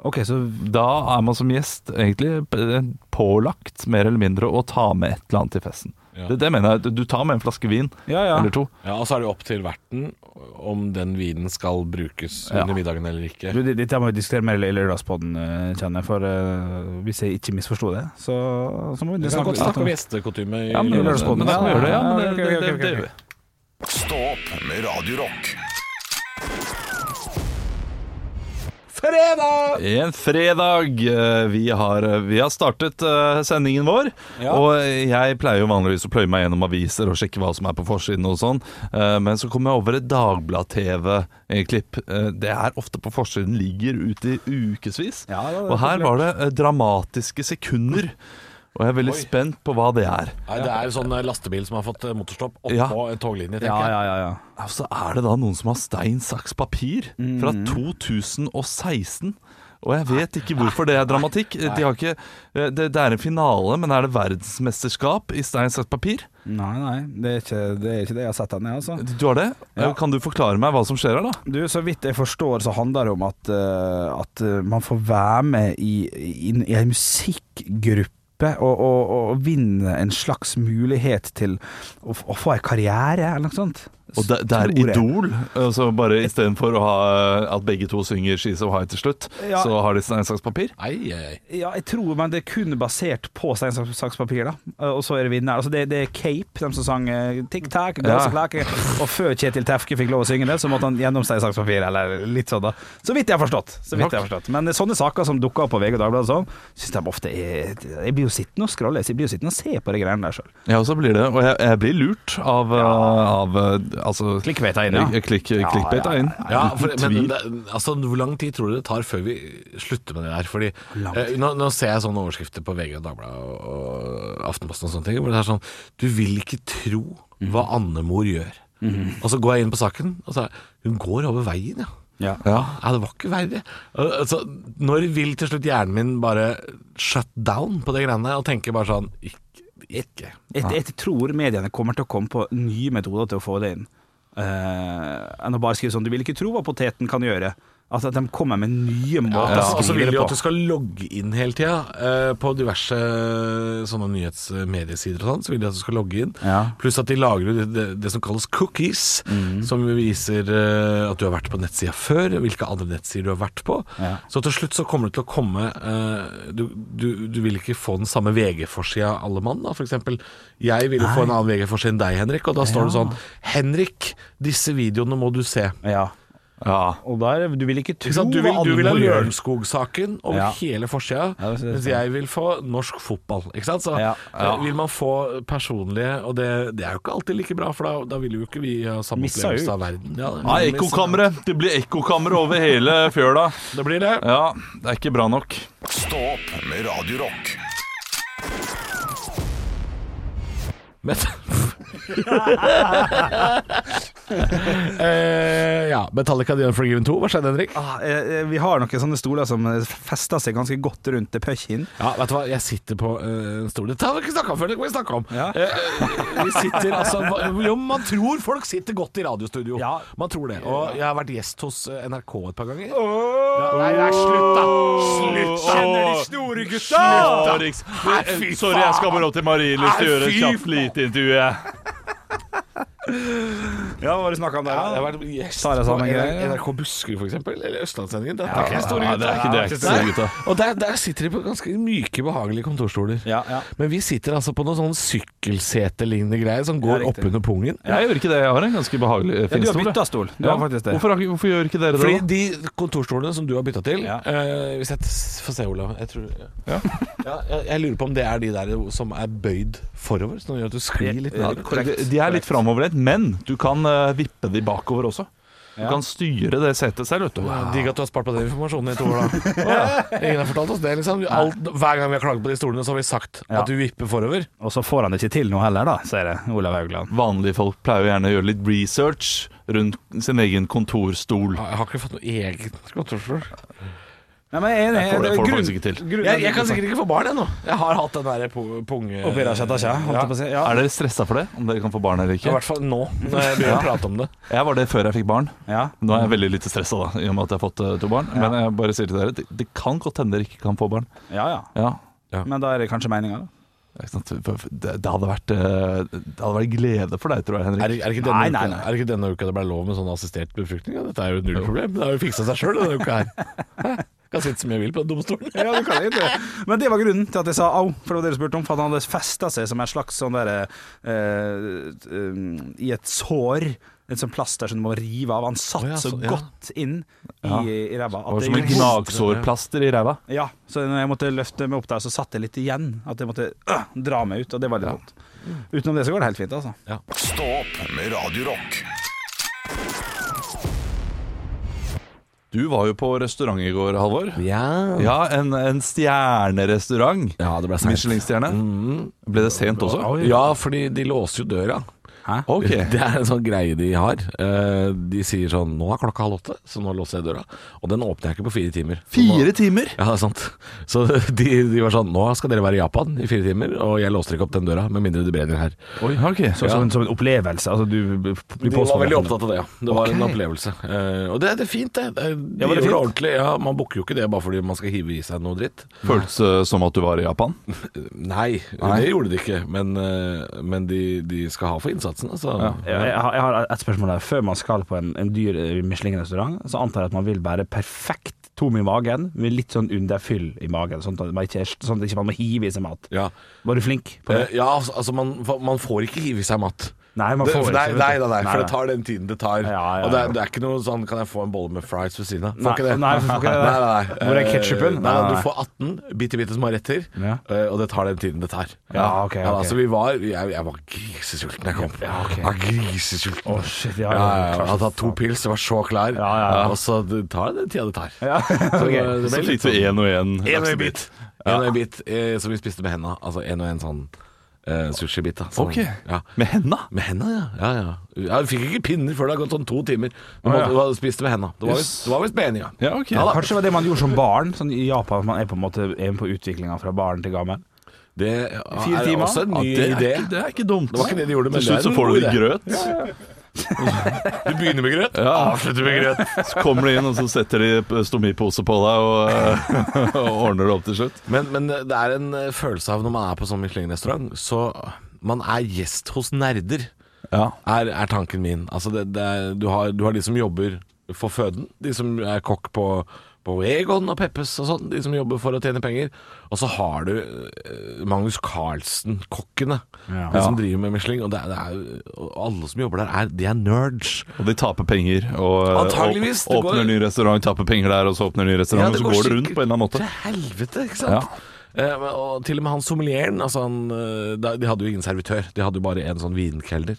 Speaker 6: Ok, så
Speaker 5: Da eh, er man som gjest egentlig p- pålagt mer eller mindre å ta med et eller annet til festen. Det, det mener jeg. Du tar med en flaske vin
Speaker 6: Ja, ja.
Speaker 5: eller to.
Speaker 4: Ja, Og så er det opp til verten om den vinen skal brukes under
Speaker 6: Ja.
Speaker 4: middagen eller ikke.
Speaker 6: Du, det- Dette må vi diskutere mer i Lørdagspodden, eh, kjenner jeg. For eh, hvis jeg ikke misforsto det, så, så må vi
Speaker 4: Vi kan
Speaker 6: snakke
Speaker 4: godt snakke
Speaker 6: litt
Speaker 4: om
Speaker 6: om
Speaker 4: gjestekotyme. i
Speaker 6: Ja, men
Speaker 4: lørdagspodden.
Speaker 6: lørdagspodden,
Speaker 5: Men da
Speaker 6: ja.
Speaker 5: gjør det, ja.
Speaker 6: Ja,
Speaker 5: Men
Speaker 6: ok,
Speaker 5: det,
Speaker 6: ok,
Speaker 5: det, det,
Speaker 6: ok,
Speaker 5: det,
Speaker 6: ok.
Speaker 5: gjør vi.
Speaker 1: Stå opp med Radio Rock.
Speaker 5: En fredag. eh, Vi har, vi har startet eh, sendingen vår. Og jeg pleier jo vanligvis å pløye meg gjennom aviser og sjekke hva som er på forsiden og sånn. Eh, Men så kom jeg over et Dagblad-TV-klipp. Eh, Det er ofte på forsiden, ligger ute i ukevis.
Speaker 6: Ja, det er
Speaker 5: og her var det eh, dramatiske sekunder. Og jeg er veldig spent på hva det er.
Speaker 4: Nei, det er en sånn eh, lastebil som har fått eh, motorstopp oppå
Speaker 5: Ja.
Speaker 4: en toglinje,
Speaker 6: Ja,
Speaker 4: tenker jeg.
Speaker 6: ja, ja, ja.
Speaker 5: Og så Altså, er det da noen som har stein, saks, papir fra 2016. Og jeg vet ikke hvorfor det er dramatikk. De har ikke, eh, det, det er en finale, men er det verdensmesterskap i stein, saks, papir?
Speaker 6: Nei, nei. Det er ikke det, er ikke det jeg har sett henne, altså.
Speaker 5: Du har det? Eh, Kan du forklare meg hva som skjer her, da?
Speaker 6: Du, så vidt jeg forstår, så handler det om at, eh, at eh, man får være med i, i, i en musikkgruppe og, og, og vinne en slags mulighet til å, f- å få en karriere, eller noe sånt.
Speaker 5: Og det, det er
Speaker 6: Tror jeg.
Speaker 5: Idol. Altså bare istedenfor å ha eh, at begge to synger 'She's So High' til slutt,
Speaker 6: Ja.
Speaker 5: så har de stein, saks, papir.
Speaker 4: Ei, ei, ei.
Speaker 6: Ja, jeg tror, men det er kun basert på stein, saks, saks, papir, da. Eh, Og så er det vinner. Altså, det, det er Cape, de som sang eh, Tic Tac, Glass
Speaker 5: Ja.
Speaker 6: og Klake. Og før Kjetil Tefke fikk lov å synge det, så måtte han gjennom stein, saks, papir, eller litt sånn, da. Så vidt jeg har forstått. Så vidt jeg har forstått. Men sånne saker som dukker opp på VG og Dagbladet og sånn, syns de ofte er Jeg blir jo sittende og scrolle, jeg blir jo sittende og se på de greiene der sjøl.
Speaker 5: Ja, og så blir det Og jeg, jeg blir lurt av, eh, av eh, Altså
Speaker 6: Clickbait er inn, ja.
Speaker 5: eh, Klikk, clickbait er inn.
Speaker 4: Ja, for,
Speaker 5: Uten
Speaker 4: men
Speaker 5: tvil.
Speaker 4: det, altså, hvor lang tid tror du det tar før vi slutter med det der? Fordi eh, nå, nå ser jeg sånne overskrifter på VG og Dagbladet og, og Aftenposten og sånne ting, hvor det er sånn Du vil ikke tro
Speaker 5: Mhm.
Speaker 4: hva andemor gjør. Og så går jeg inn på saken, og så er Hun går over veien, ja.
Speaker 6: Ja.
Speaker 4: Ja, det var ikke verre. Al- Altså, når vil til slutt hjernen min bare shut down på det greiene der, og tenke bare sånn Ikke. ikke.
Speaker 6: Jeg, jeg tror mediene kommer til å komme på nye metoder til å få det inn. Eh, enn å bare skrive sånn Du vil ikke tro hva poteten kan gjøre. Altså at de kommer med nye måter
Speaker 4: Ja,
Speaker 6: å
Speaker 4: og så
Speaker 6: skrive
Speaker 4: vil
Speaker 6: det
Speaker 4: de jo
Speaker 6: på.
Speaker 4: at du skal logge inn hele tida eh, på diverse eh, sånne nyhetsmediesider og sånn. Så vil de at du skal logge inn.
Speaker 6: Ja.
Speaker 4: Pluss at de lager det, det, det som kalles cookies,
Speaker 6: Mhm.
Speaker 4: som viser eh, at du har vært på nettsida før, hvilke andre nettsider du har vært på.
Speaker 6: Ja.
Speaker 4: Så til slutt så kommer det til å komme eh, du, du, du vil ikke få den samme VG-forsida alle mann, da. For eksempel, jeg vil jo få en annen VG-forside enn deg, Henrik, og da står det sånn Henrik, disse videoene må du se.
Speaker 6: Ja.
Speaker 5: Ja.
Speaker 6: Og da er det Du vil ikke tro
Speaker 4: Ikke sant? Du vil,
Speaker 6: hva
Speaker 4: du vil ha
Speaker 6: andre gjør.
Speaker 4: Lørenskog-saken over
Speaker 6: Ja.
Speaker 4: hele forsida,
Speaker 6: Ja, det synes jeg
Speaker 4: mens
Speaker 6: er sånn.
Speaker 4: jeg vil få norsk fotball. Ikke sant? Så
Speaker 6: Ja.
Speaker 4: eh, vil man få personlige Og det, det er jo ikke alltid like bra, for da, da vil jo ikke vi ha samme
Speaker 6: Missa ut.
Speaker 4: opplevelse av verden. Ja, det-
Speaker 5: Ja,
Speaker 4: men-
Speaker 5: ekkokamre. Det blir ekkokamre over hele fjøla.
Speaker 4: Det blir det.
Speaker 5: Ja, det er ikke bra nok.
Speaker 1: Stå opp med Radio Rock.
Speaker 4: Met eh, ja, Metallica The Unforgiven 2. Hva skjedde, Henrik?
Speaker 6: Ah, eh, eh, vi har noen sånne stoler som eh, fester seg ganske godt rundt til pøkken.
Speaker 4: Ja, vet du hva, jeg sitter på eh, en stol Dette har vi ikke snakka om før, det kan vi snakke om.
Speaker 6: Ja.
Speaker 4: Eh, eh, vi sitter, altså, hva- jo, man tror folk sitter godt i radiostudio.
Speaker 6: Ja.
Speaker 4: Man tror det. Og jeg har vært gjest hos eh, NRK et par ganger. Ja, nei, nei, slutt, da! Slutt, da!
Speaker 5: store gutta?
Speaker 4: Slutt, da. Nei, fy
Speaker 5: Sorry, jeg skal bare opp til
Speaker 4: Nei,
Speaker 5: Marienlyst og gjøre et
Speaker 4: fy
Speaker 5: kjapt lite intervju. jeg.
Speaker 6: Ja, hva var det snakka om der?
Speaker 4: Jeg har
Speaker 6: da?
Speaker 4: vært gjest
Speaker 6: Tar jeg
Speaker 4: på
Speaker 6: sammen greier?
Speaker 4: NRK Buskerud, for eksempel. Eller Østlandssendingen. Det er ikke store
Speaker 5: ja,
Speaker 4: gutter.
Speaker 5: det er ikke- det er ikke store
Speaker 4: Nei.
Speaker 5: gutta.
Speaker 4: Og der, der sitter de på ganske myke, behagelige kontorstoler.
Speaker 6: Ja, ja.
Speaker 4: Men vi sitter altså på noen sånn sykkelsetelignende greier som går
Speaker 6: riktig.
Speaker 4: oppunder pungen.
Speaker 5: Jeg gjør ikke det. Jeg har en ganske behagelig eh,
Speaker 6: Ja,
Speaker 5: fin
Speaker 6: du har
Speaker 5: stol. jeg.
Speaker 6: bytta stol. Du
Speaker 5: Ja.
Speaker 6: har faktisk det.
Speaker 5: Hvorfor, har ikke- hvorfor gjør ikke dere det?
Speaker 4: Fordi
Speaker 5: da?
Speaker 4: de kontorstolene som du har bytta til
Speaker 6: Ja.
Speaker 4: eh, Hvis jeg t- får se, Olav jeg, tror, ja. Ja, jeg, jeg lurer på om det er de der som er bøyd forover, som gjør at du sklir litt
Speaker 5: Ja,
Speaker 4: nedover.
Speaker 5: de, de er litt framoverlent, men du kan eh, vippe de bakover også. Du
Speaker 6: Ja.
Speaker 5: kan styre det setet selv, vet du.
Speaker 4: Wow. Digg at du har spart på den informasjonen i to år, da. Å, Ingen har fortalt oss det, liksom. Alt, hver gang vi har klaget på de stolene, så har vi sagt
Speaker 6: Ja.
Speaker 4: at du vipper forover.
Speaker 6: Og så får han det ikke til noe heller, da, sier det Olav Haugland.
Speaker 5: Vanlige folk pleier jo gjerne å gjøre litt research rundt sin egen kontorstol.
Speaker 4: Jeg har ikke fått noe eget kontorstol.
Speaker 6: Nei, men jeg er enig.
Speaker 5: Jeg får- jeg
Speaker 6: Eh, Det er
Speaker 5: får det
Speaker 6: grunn-
Speaker 5: faktisk ikke til.
Speaker 6: grunn-
Speaker 4: Jeg, jeg kan sikkert ikke få barn ennå. Jeg har hatt den der pu- punge...
Speaker 6: Oppi der, sjetta, sjæ, holdt jeg på å si. Ja.
Speaker 5: Er dere stressa for det? Om dere kan få barn eller
Speaker 4: I
Speaker 5: ikke?
Speaker 4: hvert fall nå, når jeg begynner å prate om det.
Speaker 5: Jeg var det før jeg fikk barn.
Speaker 6: Ja.
Speaker 5: Nå er jeg veldig lite stressa, da, i og med at jeg har fått eh, to barn. Men jeg bare sier til dere, det, det kan godt hende dere ikke kan få barn.
Speaker 6: ja, ja.
Speaker 5: Ja.
Speaker 6: Men da er det kanskje meninga, da.
Speaker 5: Ikke sant? For- Det, det, hadde vært, eh, det hadde vært glede for deg, tror jeg, Henrik.
Speaker 4: Er det, er, det ikke denne
Speaker 6: Nei,
Speaker 4: uka,
Speaker 6: nei, nei.
Speaker 4: er det ikke denne uka det ble lov med sånn assistert befruktning? Ja, dette er jo null problem. Det har jo fiksa seg sjøl denne uka her. Hæ? Kan sitte som jeg vil på domstolen.
Speaker 6: Ja, du kan egentlig Men det var grunnen til at jeg sa au, for det var det du spurte om. For at han hadde festa seg som en slags sånn derre eh, um, I et sår. Et sånt plaster som du må rive av. Han satt
Speaker 4: Å, ja,
Speaker 6: så,
Speaker 4: så- ja.
Speaker 6: godt inn i,
Speaker 5: Ja.
Speaker 6: i ræva.
Speaker 5: Det var
Speaker 6: det
Speaker 5: som en
Speaker 6: gjorde-
Speaker 5: gnagsårplaster i ræva.
Speaker 6: Ja, så når jeg måtte løfte meg opp der, så satt jeg litt igjen. At jeg måtte øh, dra meg ut, og det var litt vondt. Utenom det så går det helt fint, altså.
Speaker 1: Stå opp med Radio Rock.
Speaker 5: Du var jo på restaurant i går, Halvor.
Speaker 4: Ja.
Speaker 5: Ja, en, en stjernerestaurant.
Speaker 4: Ja, det ble seint.
Speaker 5: Michelin-stjerne. Ble det sent også?
Speaker 4: Ja, fordi de låser jo døra.
Speaker 6: Hæ?
Speaker 5: Ok.
Speaker 4: Det er en sånn greie de har. Eh, De sier sånn Nå er klokka halv åtte, så nå låser jeg døra. Og den åpner jeg ikke på fire timer. Så nå-
Speaker 5: Fire timer!
Speaker 4: Ja, det er sant. Så de, de var sånn Nå skal dere være i Japan i fire timer, og jeg låser ikke opp den døra, med mindre det brenner her.
Speaker 5: Oi, ok.
Speaker 6: Så, som, en- som en opplevelse. Altså, du blir
Speaker 4: De var
Speaker 6: påstått-
Speaker 4: veldig opptatt av det, ja. Det var
Speaker 5: Ok.
Speaker 4: en opplevelse. Eh, og det, det er fint, det. det er- de
Speaker 6: Ja, var det
Speaker 4: gjør det
Speaker 6: fint?
Speaker 4: ordentlig. Ja, man booker jo ikke det bare fordi man skal hive i seg noe dritt.
Speaker 5: Føltes det som at du var i Japan?
Speaker 4: Nei, det gjorde de ikke. Men, eh, men de, de skal ha for innsatsen, altså.
Speaker 6: Ja, jeg, har, jeg har et spørsmål der. Før man skal på en, en dyr eh, Michelin-restaurant, så antar jeg at man vil være perfekt tom i magen, med litt sånn underfyll i magen, sånn at man ikke, er- sånn at ikke man må hive i seg mat.
Speaker 4: Ja.
Speaker 6: Var du flink på det?
Speaker 4: Eh, ja, altså altså, man, man får ikke hive i seg mat.
Speaker 6: Nei, man
Speaker 4: Det,
Speaker 6: får
Speaker 4: nei, nei,
Speaker 6: ikke, vet du.
Speaker 4: nei, nei,
Speaker 6: Nei,
Speaker 4: for det
Speaker 6: nei.
Speaker 4: tar den tiden det tar.
Speaker 6: Ja, ja, ja.
Speaker 4: Og det er, det er ikke noe sånn 'kan jeg få en bolle med fries ved siden av'? Får
Speaker 6: Nei,
Speaker 4: ikke det.
Speaker 6: nei, får ikke det.
Speaker 4: Nei, nei, nei.
Speaker 6: Hvor er ketchupen?
Speaker 4: Eh, Nei,
Speaker 6: Nei, nei,
Speaker 4: nei,
Speaker 6: nei.
Speaker 4: du får 18 bitte, bitte små retter,
Speaker 6: Ja.
Speaker 4: eh, og det tar den tiden det tar.
Speaker 6: Ja,
Speaker 4: da,
Speaker 6: ok, ok.
Speaker 4: så altså, vi var Jeg, jeg var grisesulten da jeg kom.
Speaker 6: Ja, ok.
Speaker 4: Jeg var grisesulten.
Speaker 6: Å, shit, ja,
Speaker 4: ja,
Speaker 6: ja,
Speaker 4: ja,
Speaker 6: klart
Speaker 4: Jeg hadde tatt to pils, jeg var så klar.
Speaker 6: Ja, ja, ja.
Speaker 4: Og så det tar det den tida det tar.
Speaker 6: Ja, Eh,
Speaker 4: Så
Speaker 6: ok.
Speaker 4: det ble
Speaker 5: Så
Speaker 4: litt
Speaker 5: fikk du
Speaker 4: sånn-
Speaker 5: én og én
Speaker 4: en og en bit. En og en bit eh, som vi spiste med henda. Altså en og en sånn eh, sushibit. da. Sånn,
Speaker 5: Ok.
Speaker 4: ja.
Speaker 5: Med henda?
Speaker 4: Med henda, ja. Ja, ja. ja. Vi fikk ikke pinner før det har gått sånn to timer. Du måtte,
Speaker 6: ja.
Speaker 4: du spiste med henda. Det var visst- det var visst meninga.
Speaker 5: Ja, ok.
Speaker 4: da.
Speaker 6: Kanskje det var det man gjorde som barn, sånn i Japan, at man er på en måte er med på utviklinga fra barn til gammel.
Speaker 4: Det ja,
Speaker 6: Fire
Speaker 4: er
Speaker 6: timer?
Speaker 4: også en ny
Speaker 5: det, er
Speaker 4: idé.
Speaker 5: Ikke, det er ikke dumt.
Speaker 4: Det var ikke det de gjorde, men
Speaker 5: Til
Speaker 4: det er
Speaker 5: slutt så
Speaker 4: en
Speaker 5: får du
Speaker 4: god
Speaker 5: litt
Speaker 4: idé.
Speaker 5: grøt.
Speaker 4: Du begynner med grøt, avslutter med grøt.
Speaker 5: Så kommer de inn, og så setter de stomipose på deg og, og ordner det opp til slutt.
Speaker 4: Men, men det er en eh, følelse av når man er på sånn Michelin-restaurant, så man er gjest hos nerder,
Speaker 5: Ja.
Speaker 4: er, er tanken min. Altså det, det er, du, har, du har de som jobber for føden, de som er kokk på, på Egon og Peppes og sånn, de som jobber for å tjene penger. Og så har du eh, Magnus Carlsen-kokkene,
Speaker 6: Ja.
Speaker 4: de som driver med Michelin. Og, det er, det er, og alle som jobber der, er, de er nerds.
Speaker 5: Og de taper penger. Og,
Speaker 4: Antageligvis,
Speaker 5: og
Speaker 4: det går-
Speaker 5: åpner ny restaurant, taper penger der, og så åpner ny restaurant. og så går det
Speaker 4: sikkert
Speaker 5: rundt på en eller annen måte.
Speaker 4: Til helvete, ikke sant? Eh, men- og til og med han sommelieren altså han, eh, da- De hadde jo ingen servitør, de hadde jo bare en sånn vinkelner,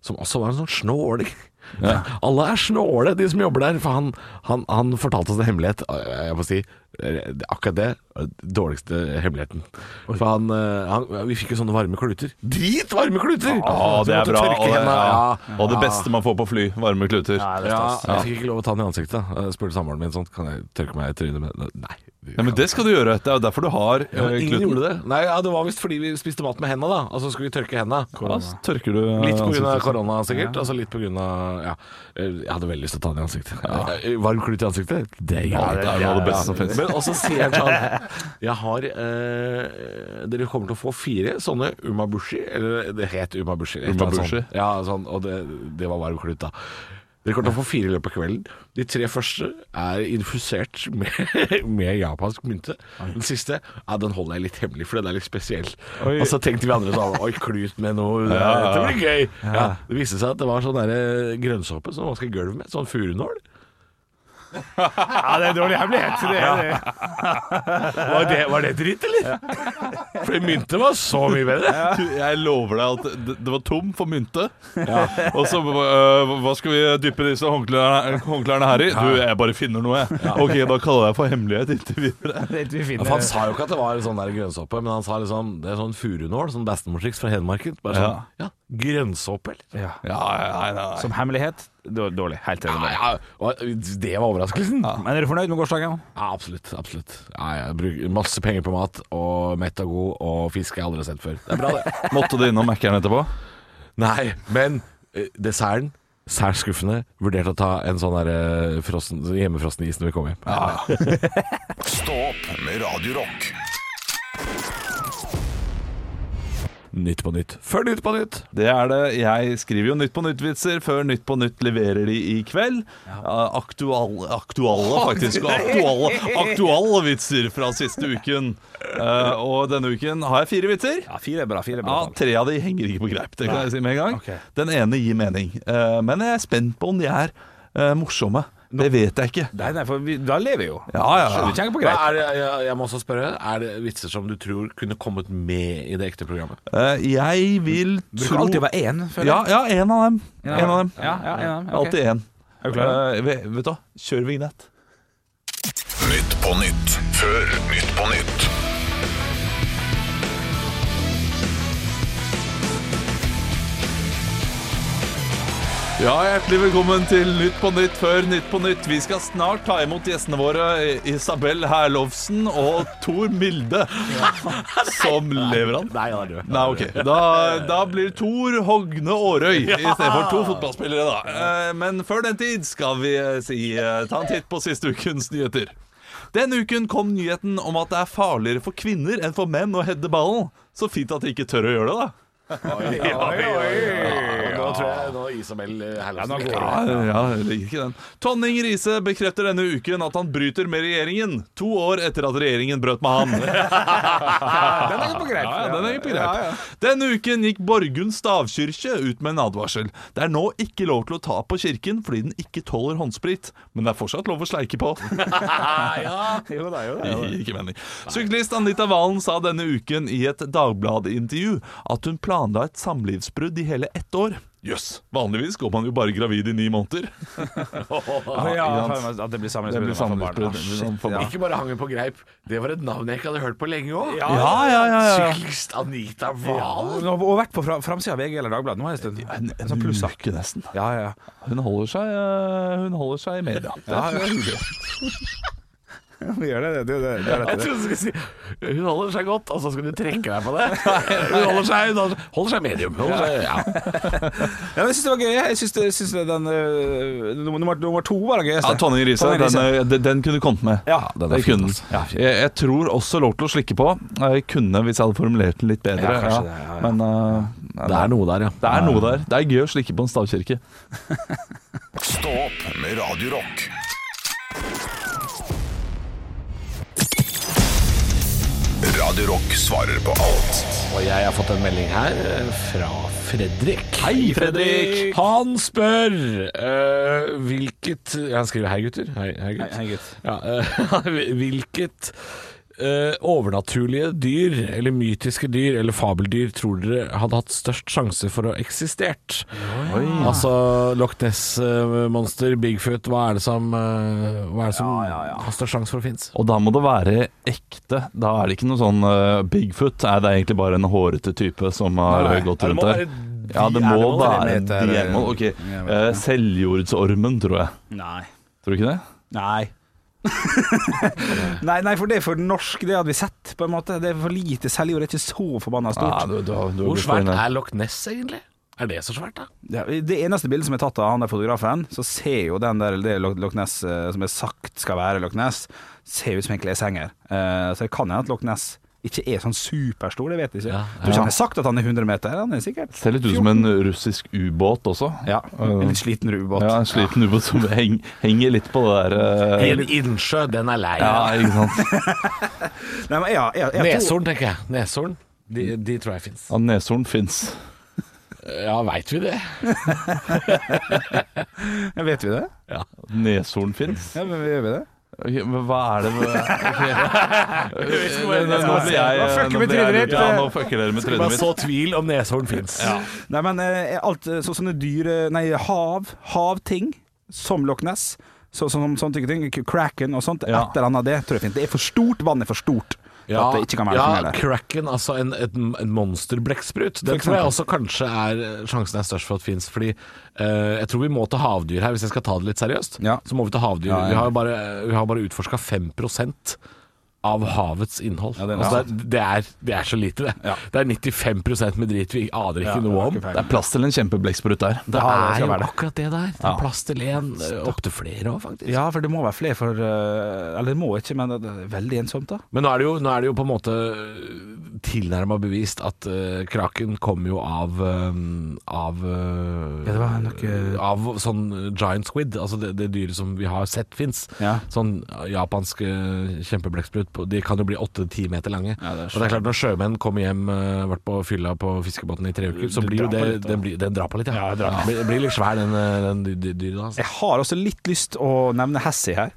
Speaker 4: som også var en sånn snåling. Alle er snåle, de som jobber der. For han, han, han fortalte oss en hemmelighet. eh, Jeg må si eh, akkurat det eh, dårligste hemmeligheten. For han, eh, han Vi fikk jo sånne varme kluter. Dritvarme kluter!
Speaker 5: Ja,
Speaker 4: Så
Speaker 5: det er
Speaker 4: vi måtte
Speaker 5: bra.
Speaker 4: tørke
Speaker 5: Og det,
Speaker 4: hendene.
Speaker 5: ja.
Speaker 4: Ja.
Speaker 5: og det beste man får på fly, varme kluter.
Speaker 4: Ja, jeg fikk ikke lov å ta den i ansiktet. da. Jeg spurte samboeren min sånn Kan jeg tørke meg i trynet med den?» Nei.
Speaker 5: Ja, men det skal du gjøre. Det er jo derfor du har
Speaker 4: Ja, men
Speaker 5: eh,
Speaker 4: ingen
Speaker 5: kluten.
Speaker 4: gjorde det. Nei, ja, Det var visst fordi vi spiste mat med hendene, da. Og så skulle vi tørke hendene.
Speaker 5: Ja, så tørker du eh,
Speaker 4: Litt pga.
Speaker 5: ansiktet.
Speaker 4: korona, sikkert. Og så litt pga. Ja. Eh, Jeg hadde veldig lyst til å ta den i ansiktet. Ja. Varm klut i ansiktet? Det gjør
Speaker 5: Ja,
Speaker 4: jeg.
Speaker 5: det er noe av det beste som finnes.
Speaker 4: Men også sier han sånn Jeg har eh, Dere kommer til å få fire sånne umabushi Eller det het umabushi et eller annet
Speaker 5: Umabushi.
Speaker 4: sånt. Ja, sånn, og det, det var varm klut da dere kommer til å få fire i løpet av kvelden. De tre første er infusert med, med japansk mynte. Den siste ja, den holder jeg litt hemmelig, for den er litt spesiell.
Speaker 6: Oi.
Speaker 4: Og så tenkte vi andre sånn Oi, klut med noe
Speaker 5: Ja,
Speaker 4: Det
Speaker 5: ja.
Speaker 4: blir gøy! Ja, det viste seg at det var sånn derre grønnsåpe som man skal gulve med. Sånn furunål.
Speaker 6: Ja, det er en dårlig hemmelighet. Det er det.
Speaker 4: Var det, var det dritt, eller? For mynte var så mye bedre.
Speaker 5: Du, Jeg lover deg at det, det var tom for mynte. Og så øh, Hva skal vi dyppe disse håndklærne, håndklærne her i? Du, jeg bare finner noe, jeg. Ok, da kaller jeg for hemmelighet inntil videre.
Speaker 6: Det er ikke vi
Speaker 4: Ja,
Speaker 6: finner.
Speaker 4: for han sa jo ikke at det var sånn der grønnsåpe, men han sa liksom det er sånn furunål, sånn bestemortriks fra Hedmarken. Bare sånn, ja, grønnsåpe, eller?
Speaker 6: Ja.
Speaker 5: Ja, nei, nei, nei.
Speaker 6: Som hemmelighet, dår- dårlig. Helt enig.
Speaker 4: Ja,
Speaker 6: med deg.
Speaker 4: ja, og det var overraskelsen. Ja,
Speaker 6: Men er du fornøyd med gårsdagen?
Speaker 4: absolutt. absolutt ja, Jeg bruker masse penger på mat, og mett og god, og fisk jeg aldri har sett før. Det er bra, det.
Speaker 5: Måtte du innom Mækkern etterpå?
Speaker 4: Nei, men eh, desserten Sært skuffende. Vurderte å ta en sånn der, eh, frossen, hjemmefrossen is når vi kom hjem.
Speaker 1: Stå opp med Radio Rock.
Speaker 4: Nytt på nytt før Nytt på nytt.
Speaker 5: Det er det. Jeg skriver jo Nytt på Nytt-vitser før Nytt på Nytt leverer de i kveld. Eh, Aktual, aktuale, faktisk. Aktuale, aktuale vitser fra siste uken. Eh, og denne uken har jeg fire vitser.
Speaker 6: Ja, fire er bra. Fire er
Speaker 5: Ja,
Speaker 6: bra tall.
Speaker 5: Tre av de henger ikke på greip. Det kan jeg si med en gang.
Speaker 6: Ok.
Speaker 5: Den ene gir mening. Eh, men jeg er spent på om de er eh, morsomme. Det vet jeg ikke.
Speaker 6: Nei, nei, for vi, da lever vi jo.
Speaker 5: Ja, ja,
Speaker 6: Skjønner,
Speaker 5: ja.
Speaker 6: kjenner på
Speaker 4: Hva
Speaker 6: greit.
Speaker 4: er det, jeg, jeg må også spørre, er det vitser som du tror kunne kommet med i det ekte programmet?
Speaker 5: Eh, jeg vil
Speaker 6: Du
Speaker 5: tro
Speaker 6: kan alltid være én, føler
Speaker 5: Ja, ja, en av dem.
Speaker 6: En
Speaker 5: En
Speaker 6: av
Speaker 5: av dem.
Speaker 6: Ja, ja, ja, ok.
Speaker 5: Alltid en.
Speaker 6: Er du klar?
Speaker 5: Eh, vet vet du hva, kjør vignett.
Speaker 1: Nytt på nytt før Nytt på nytt.
Speaker 5: Ja, Hjertelig velkommen til Nytt på Nytt før Nytt på Nytt. Vi skal snart ta imot gjestene våre Isabel Herlovsen og Tor Milde. Som lever han?
Speaker 4: Nei, han er død.
Speaker 5: Nei, ok. Da, da blir Tor Hogne Aarøy istedenfor to fotballspillere, da. Eh, Men før den tid skal vi eh, si eh, ta en titt på siste ukens nyheter. Denne uken kom nyheten om at det er farligere for kvinner enn for menn å heade ballen. Så fint at de ikke tør å gjøre det, da.
Speaker 4: Nå tror jeg nå Isabel eh, Herlevsen
Speaker 5: Ja, ja, jeg liker ikke den. Tonning Riise bekrefter denne uken at han bryter med regjeringen, to år etter at regjeringen brøt med han.
Speaker 6: Den er på greit.
Speaker 5: Ja, ja, den er på
Speaker 6: Ja, ja.
Speaker 5: greit. Denne uken gikk Borgund stavkirke ut med en advarsel. Det er nå ikke lov til å ta på kirken fordi den ikke tåler håndsprit, men det er fortsatt lov å sleike på.
Speaker 6: Jo da, jo da.
Speaker 5: Ikke mening. Syklist Anita Valen sa denne uken i et Dagbladet-intervju at hun planla et samlivsbrudd i hele ett år. Jøss, vanligvis går man jo bare gravid i ni månder.
Speaker 6: Ja,
Speaker 5: ikke sant?
Speaker 6: at det blir
Speaker 5: Det
Speaker 6: samlivsbrudd.
Speaker 5: blir samlivsbrudd. for barn.
Speaker 4: Ikke bare hang hun på greip, det var et navn jeg ikke hadde hørt på lenge òg.
Speaker 5: Ja, ja, ja, ja.
Speaker 4: Syklist Anita Wahl.
Speaker 6: Nå har vi vært på fra- framsida av VG eller Dagbladet nå en stund.
Speaker 5: En,
Speaker 6: En sånn pluss, da.
Speaker 5: uke nesten.
Speaker 6: Ja, ja.
Speaker 5: Hun holder seg, eh, hun holder seg i media. Det er hyggelig.
Speaker 6: Vi gjør det, det, det, det,
Speaker 4: Jeg trodde du skulle si Hun holder seg godt, og så skal du trekke deg på det. Hun holder seg, hun holder, holder seg medium. Holder seg, ja.
Speaker 6: Ja, men jeg syns det var gøy. Jeg syns, jeg syns den øh, nummer, nummer- nummer to var den gøyeste.
Speaker 5: Ja, Tonje Riise,
Speaker 6: Tonje
Speaker 5: den, eh, den, den kunne du kommet med.
Speaker 6: Ja, den er
Speaker 5: det
Speaker 6: fin,
Speaker 5: kunne.
Speaker 6: altså. Ja, fin.
Speaker 5: jeg, jeg tror også lov til å slikke på. Eh, Jeg kunne hvis jeg hadde formulert den litt bedre.
Speaker 6: Ja, kanskje det, ja, ja.
Speaker 5: Men eh,
Speaker 4: Det er noe der, ja.
Speaker 5: det er noe der. Det er gøy å slikke på en stavkirke.
Speaker 1: Stå opp med Radio Rock. Radio Rock svarer på alt.
Speaker 4: Og jeg har fått en melding her eh, fra Fredrik.
Speaker 5: Hei, Fredrik!
Speaker 4: Han spør eh, hvilket Han skriver 'hei, gutter'. Hei, hei, gutt.
Speaker 6: Hei, hei, gutt.
Speaker 4: Ja, eh, hvilket eh, overnaturlige dyr, eller mytiske dyr, eller fabeldyr tror dere hadde hatt størst sjanse for å eksistert? Altså Loch Ness-monster, Bigfoot, hva er det som, eh, hva er det som har størst sjanse for å finnes?
Speaker 5: Og da må det være ekte. Da er det ikke noe sånn eh, Bigfoot. Nei, det er egentlig bare en hårete type som har
Speaker 6: Nei,
Speaker 5: eh, gått
Speaker 6: det må
Speaker 5: rundt der.
Speaker 6: være
Speaker 5: Ja, det må
Speaker 6: animal,
Speaker 5: være
Speaker 6: eller
Speaker 5: en
Speaker 6: meter, eller-
Speaker 5: animal. Ok,
Speaker 6: Jeg vet
Speaker 5: eh, Selvjordsormen, tror jeg.
Speaker 6: Nei.
Speaker 5: Tror du ikke det?
Speaker 6: Nei. nei, nei, for det er for norsk, det hadde vi sett, på en måte. Det er for lite selvjord, det er ikke så forbanna
Speaker 5: Ja,
Speaker 6: stort.
Speaker 5: du, du, har- du, har
Speaker 4: Hvor
Speaker 5: gått for
Speaker 4: svært
Speaker 5: en-
Speaker 4: er Loch Ness, egentlig? Er det så svært, da?
Speaker 6: Ja, i det eneste bildet som er tatt av han der fotografen, så ser jo den der det Loch Loch Ness eh, som er sagt skal være Loch Ness, ser ut som en kleshenger. Eh, så det kan hende at Loch Ness ikke er sånn superstor, det vet jeg ikke.
Speaker 4: Ja,
Speaker 6: Tror ikke han har sagt at han er 100 meter, han er sikkert
Speaker 5: Ser litt ut som en russisk ubåt også.
Speaker 6: Ja, en litt sliten ubåt.
Speaker 5: Ja, en sliten ubåt som heng, henger litt på det der eh,
Speaker 4: En innsjø, den er lei.
Speaker 5: Ja, ikke sant.
Speaker 6: Nei, men jeg, jeg, jeg, jeg tror-
Speaker 4: Neshorn, tenker jeg. Neshorn. De, de tror jeg fins.
Speaker 5: Ja, Neshorn fins.
Speaker 4: Ja, veit vi det?
Speaker 6: Ja, vet vi det?
Speaker 4: Ja.
Speaker 5: Neshorn fins?
Speaker 6: Ja, men gjør vi det?
Speaker 5: Ok, men hva er det okay. Nå nå blir
Speaker 6: Nå
Speaker 5: jeg
Speaker 6: fucker vi
Speaker 5: nå blir jeg
Speaker 6: trynet ditt.
Speaker 5: lurt. Ja, nå fucker dere med trynet mitt.
Speaker 4: tvil om neshorn fins.
Speaker 6: Nei, men eh, alt eh, så, sånne dyre Nei, hav, havting som Loch Ness. Så, så, sånne type ting. k- Kraken og sånt.
Speaker 5: Ja.
Speaker 6: Et eller annet av det tror jeg er fint. Det er for stort. Vann er for stort. For
Speaker 4: Ja,
Speaker 6: at det ikke kan være
Speaker 4: ja
Speaker 6: så mye der.
Speaker 4: Kraken, altså en, et, en monsterblekksprut. Det tror jeg også kanskje er eh, sjansen er størst for at fins. Fordi eh, jeg tror vi må til havdyr her, hvis jeg skal ta det litt seriøst.
Speaker 6: Ja.
Speaker 4: Så må vi til havdyr.
Speaker 6: Ja, ja.
Speaker 4: Vi har jo bare, vi har bare utforska 5 av havets innhold.
Speaker 6: Ja, det er
Speaker 4: altså, det, er, det, er, det er så lite, det. Det er 95 med drit vi aner ikke noe om.
Speaker 5: Det er plass til en kjempeblekksprut der.
Speaker 4: Det
Speaker 6: Ja, det
Speaker 4: er
Speaker 6: skal
Speaker 4: jo
Speaker 6: være det.
Speaker 4: akkurat det der. Det er plass til én, opptil flere òg, faktisk.
Speaker 6: Ja, for det må være flere for eh, Eller det må ikke, men det er veldig ensomt, da.
Speaker 4: Men nå er det jo, nå er det jo på en måte tilnærma bevist at eh, kraken kom jo av eh, Av eh,
Speaker 6: Ja, det var nok, eh,
Speaker 4: Av sånn giant squid, altså det, det dyret som vi har sett fins.
Speaker 6: Ja.
Speaker 4: Sånn japansk eh, kjempeblekksprutt. på- De kan jo bli åtte-ti meter lange.
Speaker 6: det er
Speaker 4: og det er klart Når sjømenn kommer hjem, eh, vært på fylla på fiskebåten i tre uker, så
Speaker 6: Det
Speaker 4: blir jo
Speaker 6: drar
Speaker 4: det
Speaker 6: på litt, da.
Speaker 4: Den, blir, den drar på litt, ja. Blir, blir litt svær, den, eh, den dy- dy- dyret da. Altså.
Speaker 6: Jeg har også litt lyst å nevne Hessi her.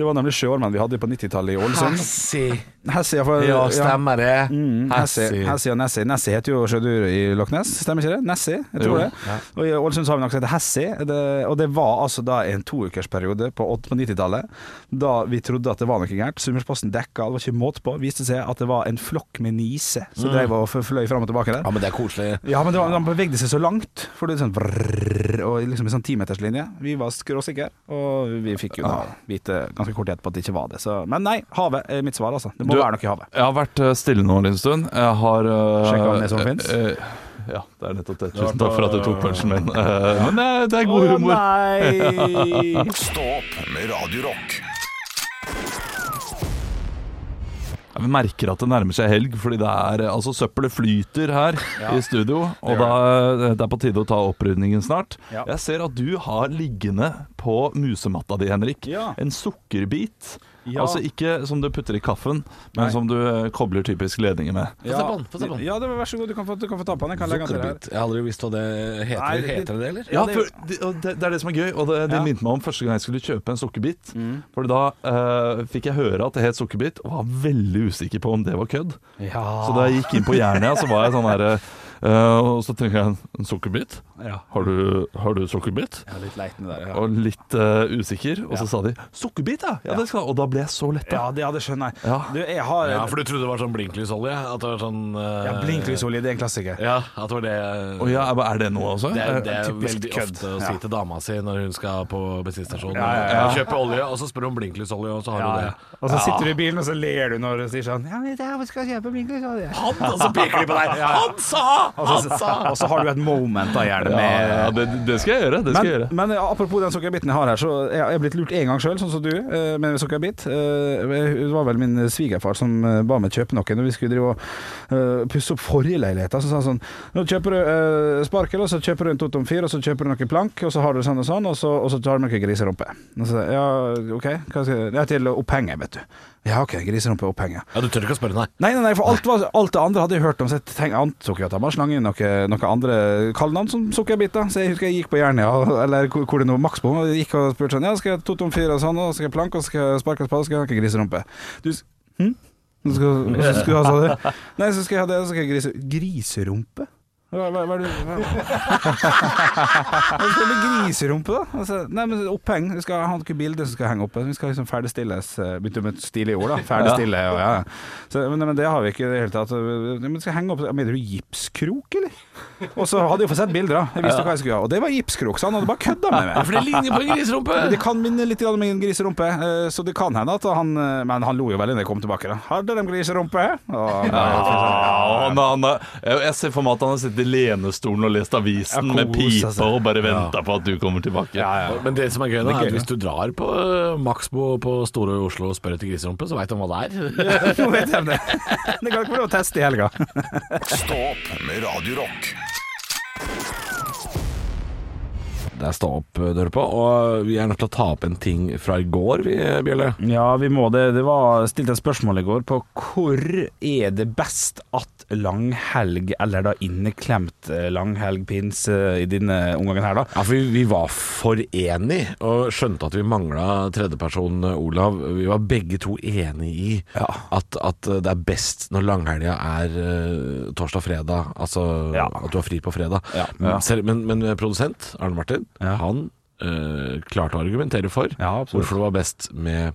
Speaker 6: Det var nemlig sjøormen vi hadde på 90-tallet i Ålesund.
Speaker 4: Hassi.
Speaker 6: Hessi, ja, for,
Speaker 4: Ja, stemmer det.
Speaker 6: Mm, Nessie,
Speaker 4: Hassi.
Speaker 6: Nessie og Nessie. Nessie heter jo sjødyret i Loch Ness, stemmer ikke det? Nessie, jeg tror
Speaker 5: Jo.
Speaker 6: det. Og I Ålesund så har vi noe som heter Hessie, det- og det var altså da en toukersperiode på åt- på 90-tallet da vi trodde at det var noe gærent. Sunnmørsposten dekka, det var ikke måte på. Viste seg at det var en flokk med niser
Speaker 4: Mm.
Speaker 6: som drev og f- fløy fram og tilbake der.
Speaker 4: Ja, men det er koselig.
Speaker 6: Ja, men det var, han bevegde seg så langt, for det er sånn vrrr, og liksom en sånn timeterslinje. Vi var skråsikre, og vi fikk jo da vite ganske kort tid etterpå at det ikke var det. Så, men nei, havet er mitt svar, altså. Det må
Speaker 5: Du-
Speaker 6: være noe i havet.
Speaker 5: Jeg har vært eh, stille nå en liten stund. Jeg har eh,
Speaker 6: Sjekket om det som finnes?
Speaker 5: eh, Ja, det er nettopp det. Tusen takk for at du tok punchen min. Eh, Men det, det er god humor.
Speaker 6: nei!
Speaker 1: Stå opp med Radio Rock.
Speaker 5: Vi merker at det nærmer seg helg, fordi det er Altså, søppelet flyter her i studio, og da, eh, det er på tide å ta opprydningen snart.
Speaker 6: Ja.
Speaker 5: Jeg ser at du har liggende på musematta di, Henrik,
Speaker 6: Ja.
Speaker 5: en sukkerbit.
Speaker 6: Ja.
Speaker 5: Altså ikke som du putter i kaffen, men
Speaker 6: Nei.
Speaker 5: som du eh, kobler typisk ledninger med.
Speaker 4: Få se på den, få se på den.
Speaker 6: Ja, det var, vær så god, du kan få, du kan få ta på den. Jeg kan legge den til deg her.
Speaker 4: Sukkerbit. Jeg har aldri visst hva det heter.
Speaker 6: Nei, det-
Speaker 4: heter det det, eller?
Speaker 5: Ja,
Speaker 6: det-
Speaker 5: for det, og det, det er det som er gøy, og det, det
Speaker 6: Ja. Mm.
Speaker 5: minte meg om første gang jeg skulle kjøpe en sukkerbit. For da eh, fikk jeg høre at det het sukkerbit, og var veldig usikker på om det var kødd. Så da jeg gikk inn på Jernia, så var jeg sånn her eh, Og så tenker jeg en sukkerbit?
Speaker 6: Ja.
Speaker 5: Har du, har du sukkerbit?
Speaker 6: Ja, litt leitende der, ja.
Speaker 5: Og litt eh, usikker. Og så sa de 'sukkerbit', ja! ja, det skal. Og da ble jeg så letta.
Speaker 6: Ja, det, ja, det skjønner jeg.
Speaker 5: Ja.
Speaker 6: Du, jeg har
Speaker 4: Ja, for du trodde det var sånn blinklysolje? At det var sånn eh,
Speaker 6: ja, Blinklysolje, det er en klassiker.
Speaker 4: Ja, at det var det
Speaker 5: Og ja, er det noe også?
Speaker 4: Det er, det er
Speaker 6: typisk
Speaker 4: veldig
Speaker 6: kødd.
Speaker 4: ofte å si
Speaker 6: Ja.
Speaker 4: til dama si når hun skal på bensinstasjonen
Speaker 6: Ja, ja, ja.
Speaker 4: Kjøpe olje, og så spør hun om blinklysolje, og så har
Speaker 6: Ja,
Speaker 4: hun
Speaker 6: ja.
Speaker 4: det.
Speaker 6: Og så sitter du i bilen, og så ler du når du sier sånn Ja, men det er, skal jeg kjøpe blinklysolje?
Speaker 4: Han, og så peker de på deg! Han sa!
Speaker 6: Og Altså, så, og så har du et moment da gjerne
Speaker 5: ja,
Speaker 6: med
Speaker 5: ja, det, det skal jeg gjøre. Det skal jeg
Speaker 6: men,
Speaker 5: gjøre.
Speaker 6: men apropos den sukkerbiten jeg har her, så jeg jeg er blitt lurt én gang sjøl, sånn som du, eh, med sukkerbit. Eh, Det var vel min svigerfar som eh, ba meg kjøpe noe når vi skulle drive og eh, pusse opp forrige leilighet. Så sa han sånn Nå kjøper du eh, sparkel, og så kjøper du en Totom 4, og så kjøper du noe plank, og så har du sånn og sånn, og så, og så tar du noe griserumpe. Og så, sa jeg, ja, OK, hva skal jeg Det er til opphenge, vet du. Ja, OK, griserumpe og opphenge.
Speaker 4: Ja, du tør ikke å spørre, nei.
Speaker 6: Nei, nei, nei, for alt, var, alt det andre hadde jeg hørt om. Så jeg tenk- antok jo at han var slange inn noen noe andre kallenavn som sukkerbiter. Så jeg husker jeg gikk på Jernia, eller hvor hvor det nå maks på, og jeg gikk og spurte sånn Ja, skal jeg to tom fire og sånn, og skal jeg planke, og skal jeg sparke og spade, og skal jeg ha noen griserumpe? Du s- hm? Nå Skal, så skal du ha sånn Nei, så skal jeg ha det, og så skal jeg grise... Griserumpe? Hva, hva, hva er det hva- Hva skal du med griserumpe, da? Altså, nei, men oppheng. Vi skal ha noen bilder som skal henge oppe. Vi skal liksom ferdigstilles. eh, Begynte med et stilig ord, da. Ferdigstille. Og, ja. så, men, men det har vi ikke i det hele tatt. Ja, Men skal henge opp ja, Mener du gipskrok, eller? Og så hadde jeg fått sett bilder, da. Jeg visste hva jeg skulle ha. Og det var gipskrok, så han hadde bare kødda med meg.
Speaker 4: For det ligner på en griserumpe!
Speaker 6: Men Det kan minne litt grann om en griserumpe, eh, så det kan hende at han eh, Men han lo jo veldig da jeg kom tilbake. da Hadde de griserumpe? Og,
Speaker 5: Ja, han, han, Ah, jeg jeg ser for meg at han har sittet i lenestolen og lest avisen
Speaker 6: Ja,
Speaker 5: med
Speaker 6: koset
Speaker 5: pipa
Speaker 6: seg.
Speaker 5: og bare venta på at du kommer tilbake.
Speaker 4: Men det som er gøy, da,
Speaker 6: er
Speaker 4: er
Speaker 6: gøy,
Speaker 4: at hvis du drar på eh, Maxbo på Store Oslo og spør etter griserumpe, så veit han hva det er.
Speaker 6: Nå vet jeg det. Det kan ikke være lov å teste i helga.
Speaker 1: Stå opp med Radio Rock.
Speaker 4: Det er stå opp eh, dere på, og vi er nødt til å ta opp en ting fra i går, vi, eh, Bjelle.
Speaker 6: Ja, vi må det. Det var stilt et spørsmål i går på hvor er det best at langhelg, eller da inneklemt eh, langhelg, pinse i denne omgangen her, da.
Speaker 4: Ja, for vi, vi var for enige, og skjønte at vi mangla tredjeperson eh, Olav. Vi var begge to enige i
Speaker 6: Ja.
Speaker 4: at, at eh, det er best når langhelga er eh, torsdag-fredag, altså
Speaker 6: Ja.
Speaker 4: at du har fri på fredag.
Speaker 6: Ja.
Speaker 4: Men, selv- men, men produsent Arne Martin,
Speaker 6: Ja.
Speaker 4: han eh, klarte å argumentere for
Speaker 6: Ja, absolutt.
Speaker 4: hvorfor det var best med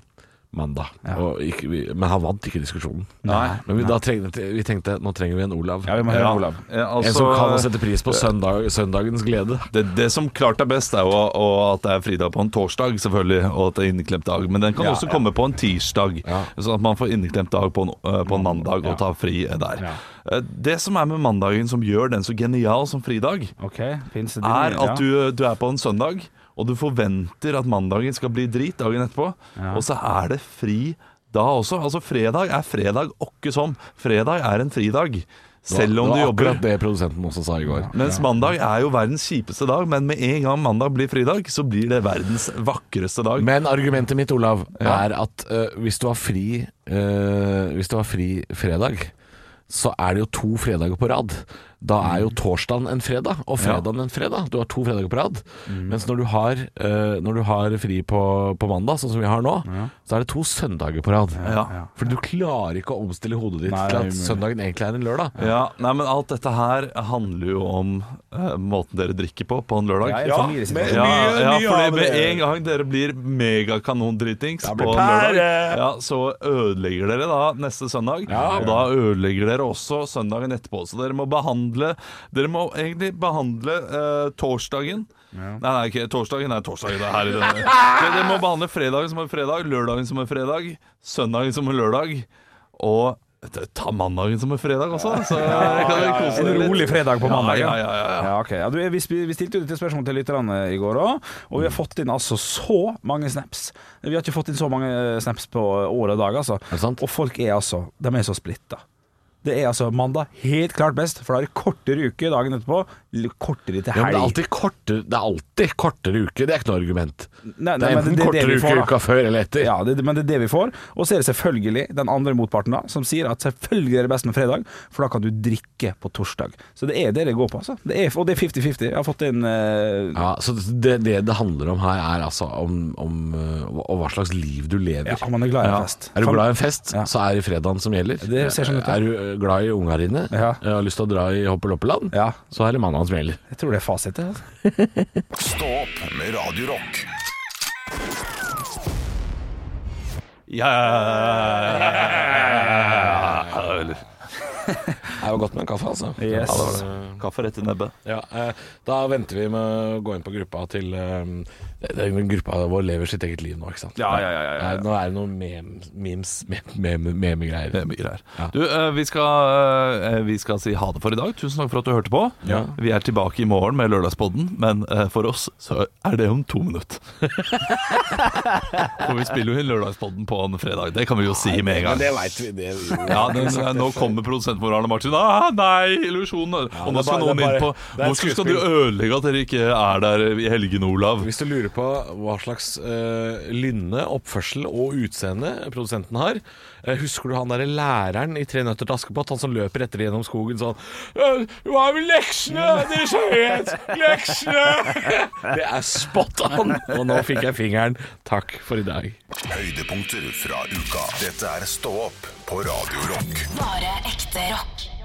Speaker 4: mandag. Og ikke, vi, men han vant ikke diskusjonen.
Speaker 5: Nei.
Speaker 4: Men vi, da trengte, vi tenkte nå trenger vi en Olav.
Speaker 6: Ja, vi må høre Olav.
Speaker 5: Ja,
Speaker 4: en
Speaker 5: altså,
Speaker 4: som kan sette pris på søndag, søndagens glede.
Speaker 5: det, det som klart er best, er jo å- at det er fridag på en torsdag, selvfølgelig, og at det er inneklemt dag. Men den kan også komme på en tirsdag, sånn at man får inneklemt dag på en, eh, på en mandag og tar fri eh, der. Eh, Det som er med mandagen som gjør den så genial som fridag,
Speaker 6: Ok, pinse din,
Speaker 5: er
Speaker 6: ja.
Speaker 5: at du, du er på en søndag, og du forventer at mandagen skal bli drit dagen etterpå, og så er det fri da også. Altså fredag er fredag åkke som. Fredag er en fridag, selv om
Speaker 4: det var
Speaker 5: du jobber.
Speaker 4: akkurat det produsenten også sa i går.
Speaker 5: Mens mandag er jo verdens kjipeste dag, men med en gang mandag blir fridag, så blir det verdens vakreste dag.
Speaker 4: Men argumentet mitt, Olav, er at eh, hvis du har fri eh, Hvis du har fri fredag så er det jo to fredager på rad. Da er
Speaker 5: Mm.
Speaker 4: jo torsdagen en fredag, og fredagen en fredag. Du har to fredager på rad.
Speaker 5: Mm.
Speaker 4: Mens når du har, eh, når du har fri på, på mandag, sånn som vi har nå, så er det to søndager på rad.
Speaker 5: Ja.
Speaker 4: For du klarer ikke å omstille hodet ditt
Speaker 6: Nei, det
Speaker 4: til
Speaker 6: er
Speaker 4: at
Speaker 6: umulig.
Speaker 4: søndagen egentlig er en lørdag.
Speaker 5: Ja, nei, men alt dette her handler jo om eh, måten dere drikker på på en lørdag.
Speaker 6: Jeg er i familiesituasjon.
Speaker 5: Ja,
Speaker 3: Mye- mye
Speaker 5: ja
Speaker 3: av
Speaker 5: fordi med
Speaker 3: det.
Speaker 5: en gang dere blir megakanondritings
Speaker 3: blir
Speaker 5: på en
Speaker 3: pære.
Speaker 5: lørdag, ja, så ødelegger dere da neste søndag. Og da ødelegger dere også søndagen etterpå. Så dere må behandle Dere må egentlig behandle eh, torsdagen Nei, nei, ikke torsdagen. Nei, torsdagen er her i denne. Dere, dere må behandle fredagen som en fredag, lørdagen som en fredag, søndagen som en lørdag. Og ta mandagen som en fredag også, så dere kan dere kose dere
Speaker 6: En
Speaker 5: litt.
Speaker 6: rolig fredag på mandag.
Speaker 5: Ja, ja, ja, ja.
Speaker 6: Ja, ok. ja, du, vi, sp- vi stilte jo dette spørsmålet til lytterne i går òg, og
Speaker 4: Mm.
Speaker 6: vi har fått inn altså så mange snaps. Vi har ikke fått inn så mange eh, snaps på år og dag, altså.
Speaker 4: det sant?
Speaker 6: Og folk er altså De er så splitta. Det er altså mandag helt klart best, for da er det kortere uke dagen etterpå. l- Kortere til
Speaker 4: Ja, men det er
Speaker 6: helg.
Speaker 4: alltid kortere, det er alltid kortere uke. Det er ikke noe argument.
Speaker 6: Nei, nei,
Speaker 4: det er
Speaker 6: men
Speaker 4: enten
Speaker 6: det er det
Speaker 4: kortere
Speaker 6: vi får,
Speaker 4: uke
Speaker 6: da.
Speaker 4: uka før eller etter.
Speaker 6: Ja, det, men det er det vi får. Og så er det selvfølgelig den andre motparten da, som sier at selvfølgelig er det best med fredag, for da kan du drikke på torsdag. Så det er det det går på, altså. Det er, og det er 50-50. Jeg har fått inn eh,
Speaker 4: Ja, så det, det det handler om her, er altså om, om, eh, hva- og hva slags liv du lever.
Speaker 6: Ja, man er glad i en fest.
Speaker 4: Er du glad i en fest,
Speaker 6: Ja.
Speaker 4: så er det fredagen som gjelder.
Speaker 6: Det ser sånn ut, ja.
Speaker 4: Er du eh, glad i unga dine
Speaker 6: Ja.
Speaker 4: eh, og har lyst til å dra i hoppeloppeland,
Speaker 6: Ja.
Speaker 4: så er det mandagen som gjelder.
Speaker 6: Jeg tror det er fasit. det, Altså.
Speaker 1: Stå opp med Radio Rock.
Speaker 5: Ja, ja, ja, ja, ja, ja.
Speaker 4: Det var godt med en kaffe, altså.
Speaker 6: Yes.
Speaker 5: Ja, det var det. Kaffe rett i nebbet.
Speaker 4: Ja, eh, da venter vi med å gå inn på gruppa til eh, det er en Gruppa vår lever sitt eget liv nå, ikke sant?
Speaker 5: Ja, ja, ja, ja, ja.
Speaker 4: Eh, Nå er det noen mem, memes, mem- mem- memegreier.
Speaker 5: Det er mye greier.
Speaker 4: Ja.
Speaker 5: Du, eh, vi skal, eh, vi skal si ha det for i dag. Tusen takk for at du hørte på.
Speaker 4: Ja.
Speaker 5: Vi er tilbake i morgen med Lørdagspodden, men eh, for oss så er det om to minutter. For vi spiller jo inn Lørdagspodden på en fredag. Det kan vi jo si med en gang.
Speaker 4: Men det veit vi. Det,
Speaker 5: Ja, den, eh, Nå kommer produsenten vår, Arne Martin. Ah, nei, illusjonen! og
Speaker 4: det er
Speaker 5: nå skal
Speaker 4: bare-
Speaker 5: noen
Speaker 4: det er
Speaker 5: inn
Speaker 4: bare-
Speaker 5: på
Speaker 4: det er et
Speaker 5: Hvorfor skal du
Speaker 4: skuespill.
Speaker 5: ødelegge at dere ikke er der i helgene, Olav?
Speaker 4: Hvis du lurer på hva slags eh, lynne, oppførsel og utseende produsenten har eh, Husker du han derre læreren i Tre nøtter til Askepott? Han som løper etter gjennom skogen sånn «Øh, Hva er med leksene, Deres Høyhet? Leksene! Det er spot on! Og nå fikk jeg fingeren. Takk for i dag.
Speaker 1: Høydepunkter fra uka. Dette er Stå opp på Radio Rock.
Speaker 2: Bare ekte rock.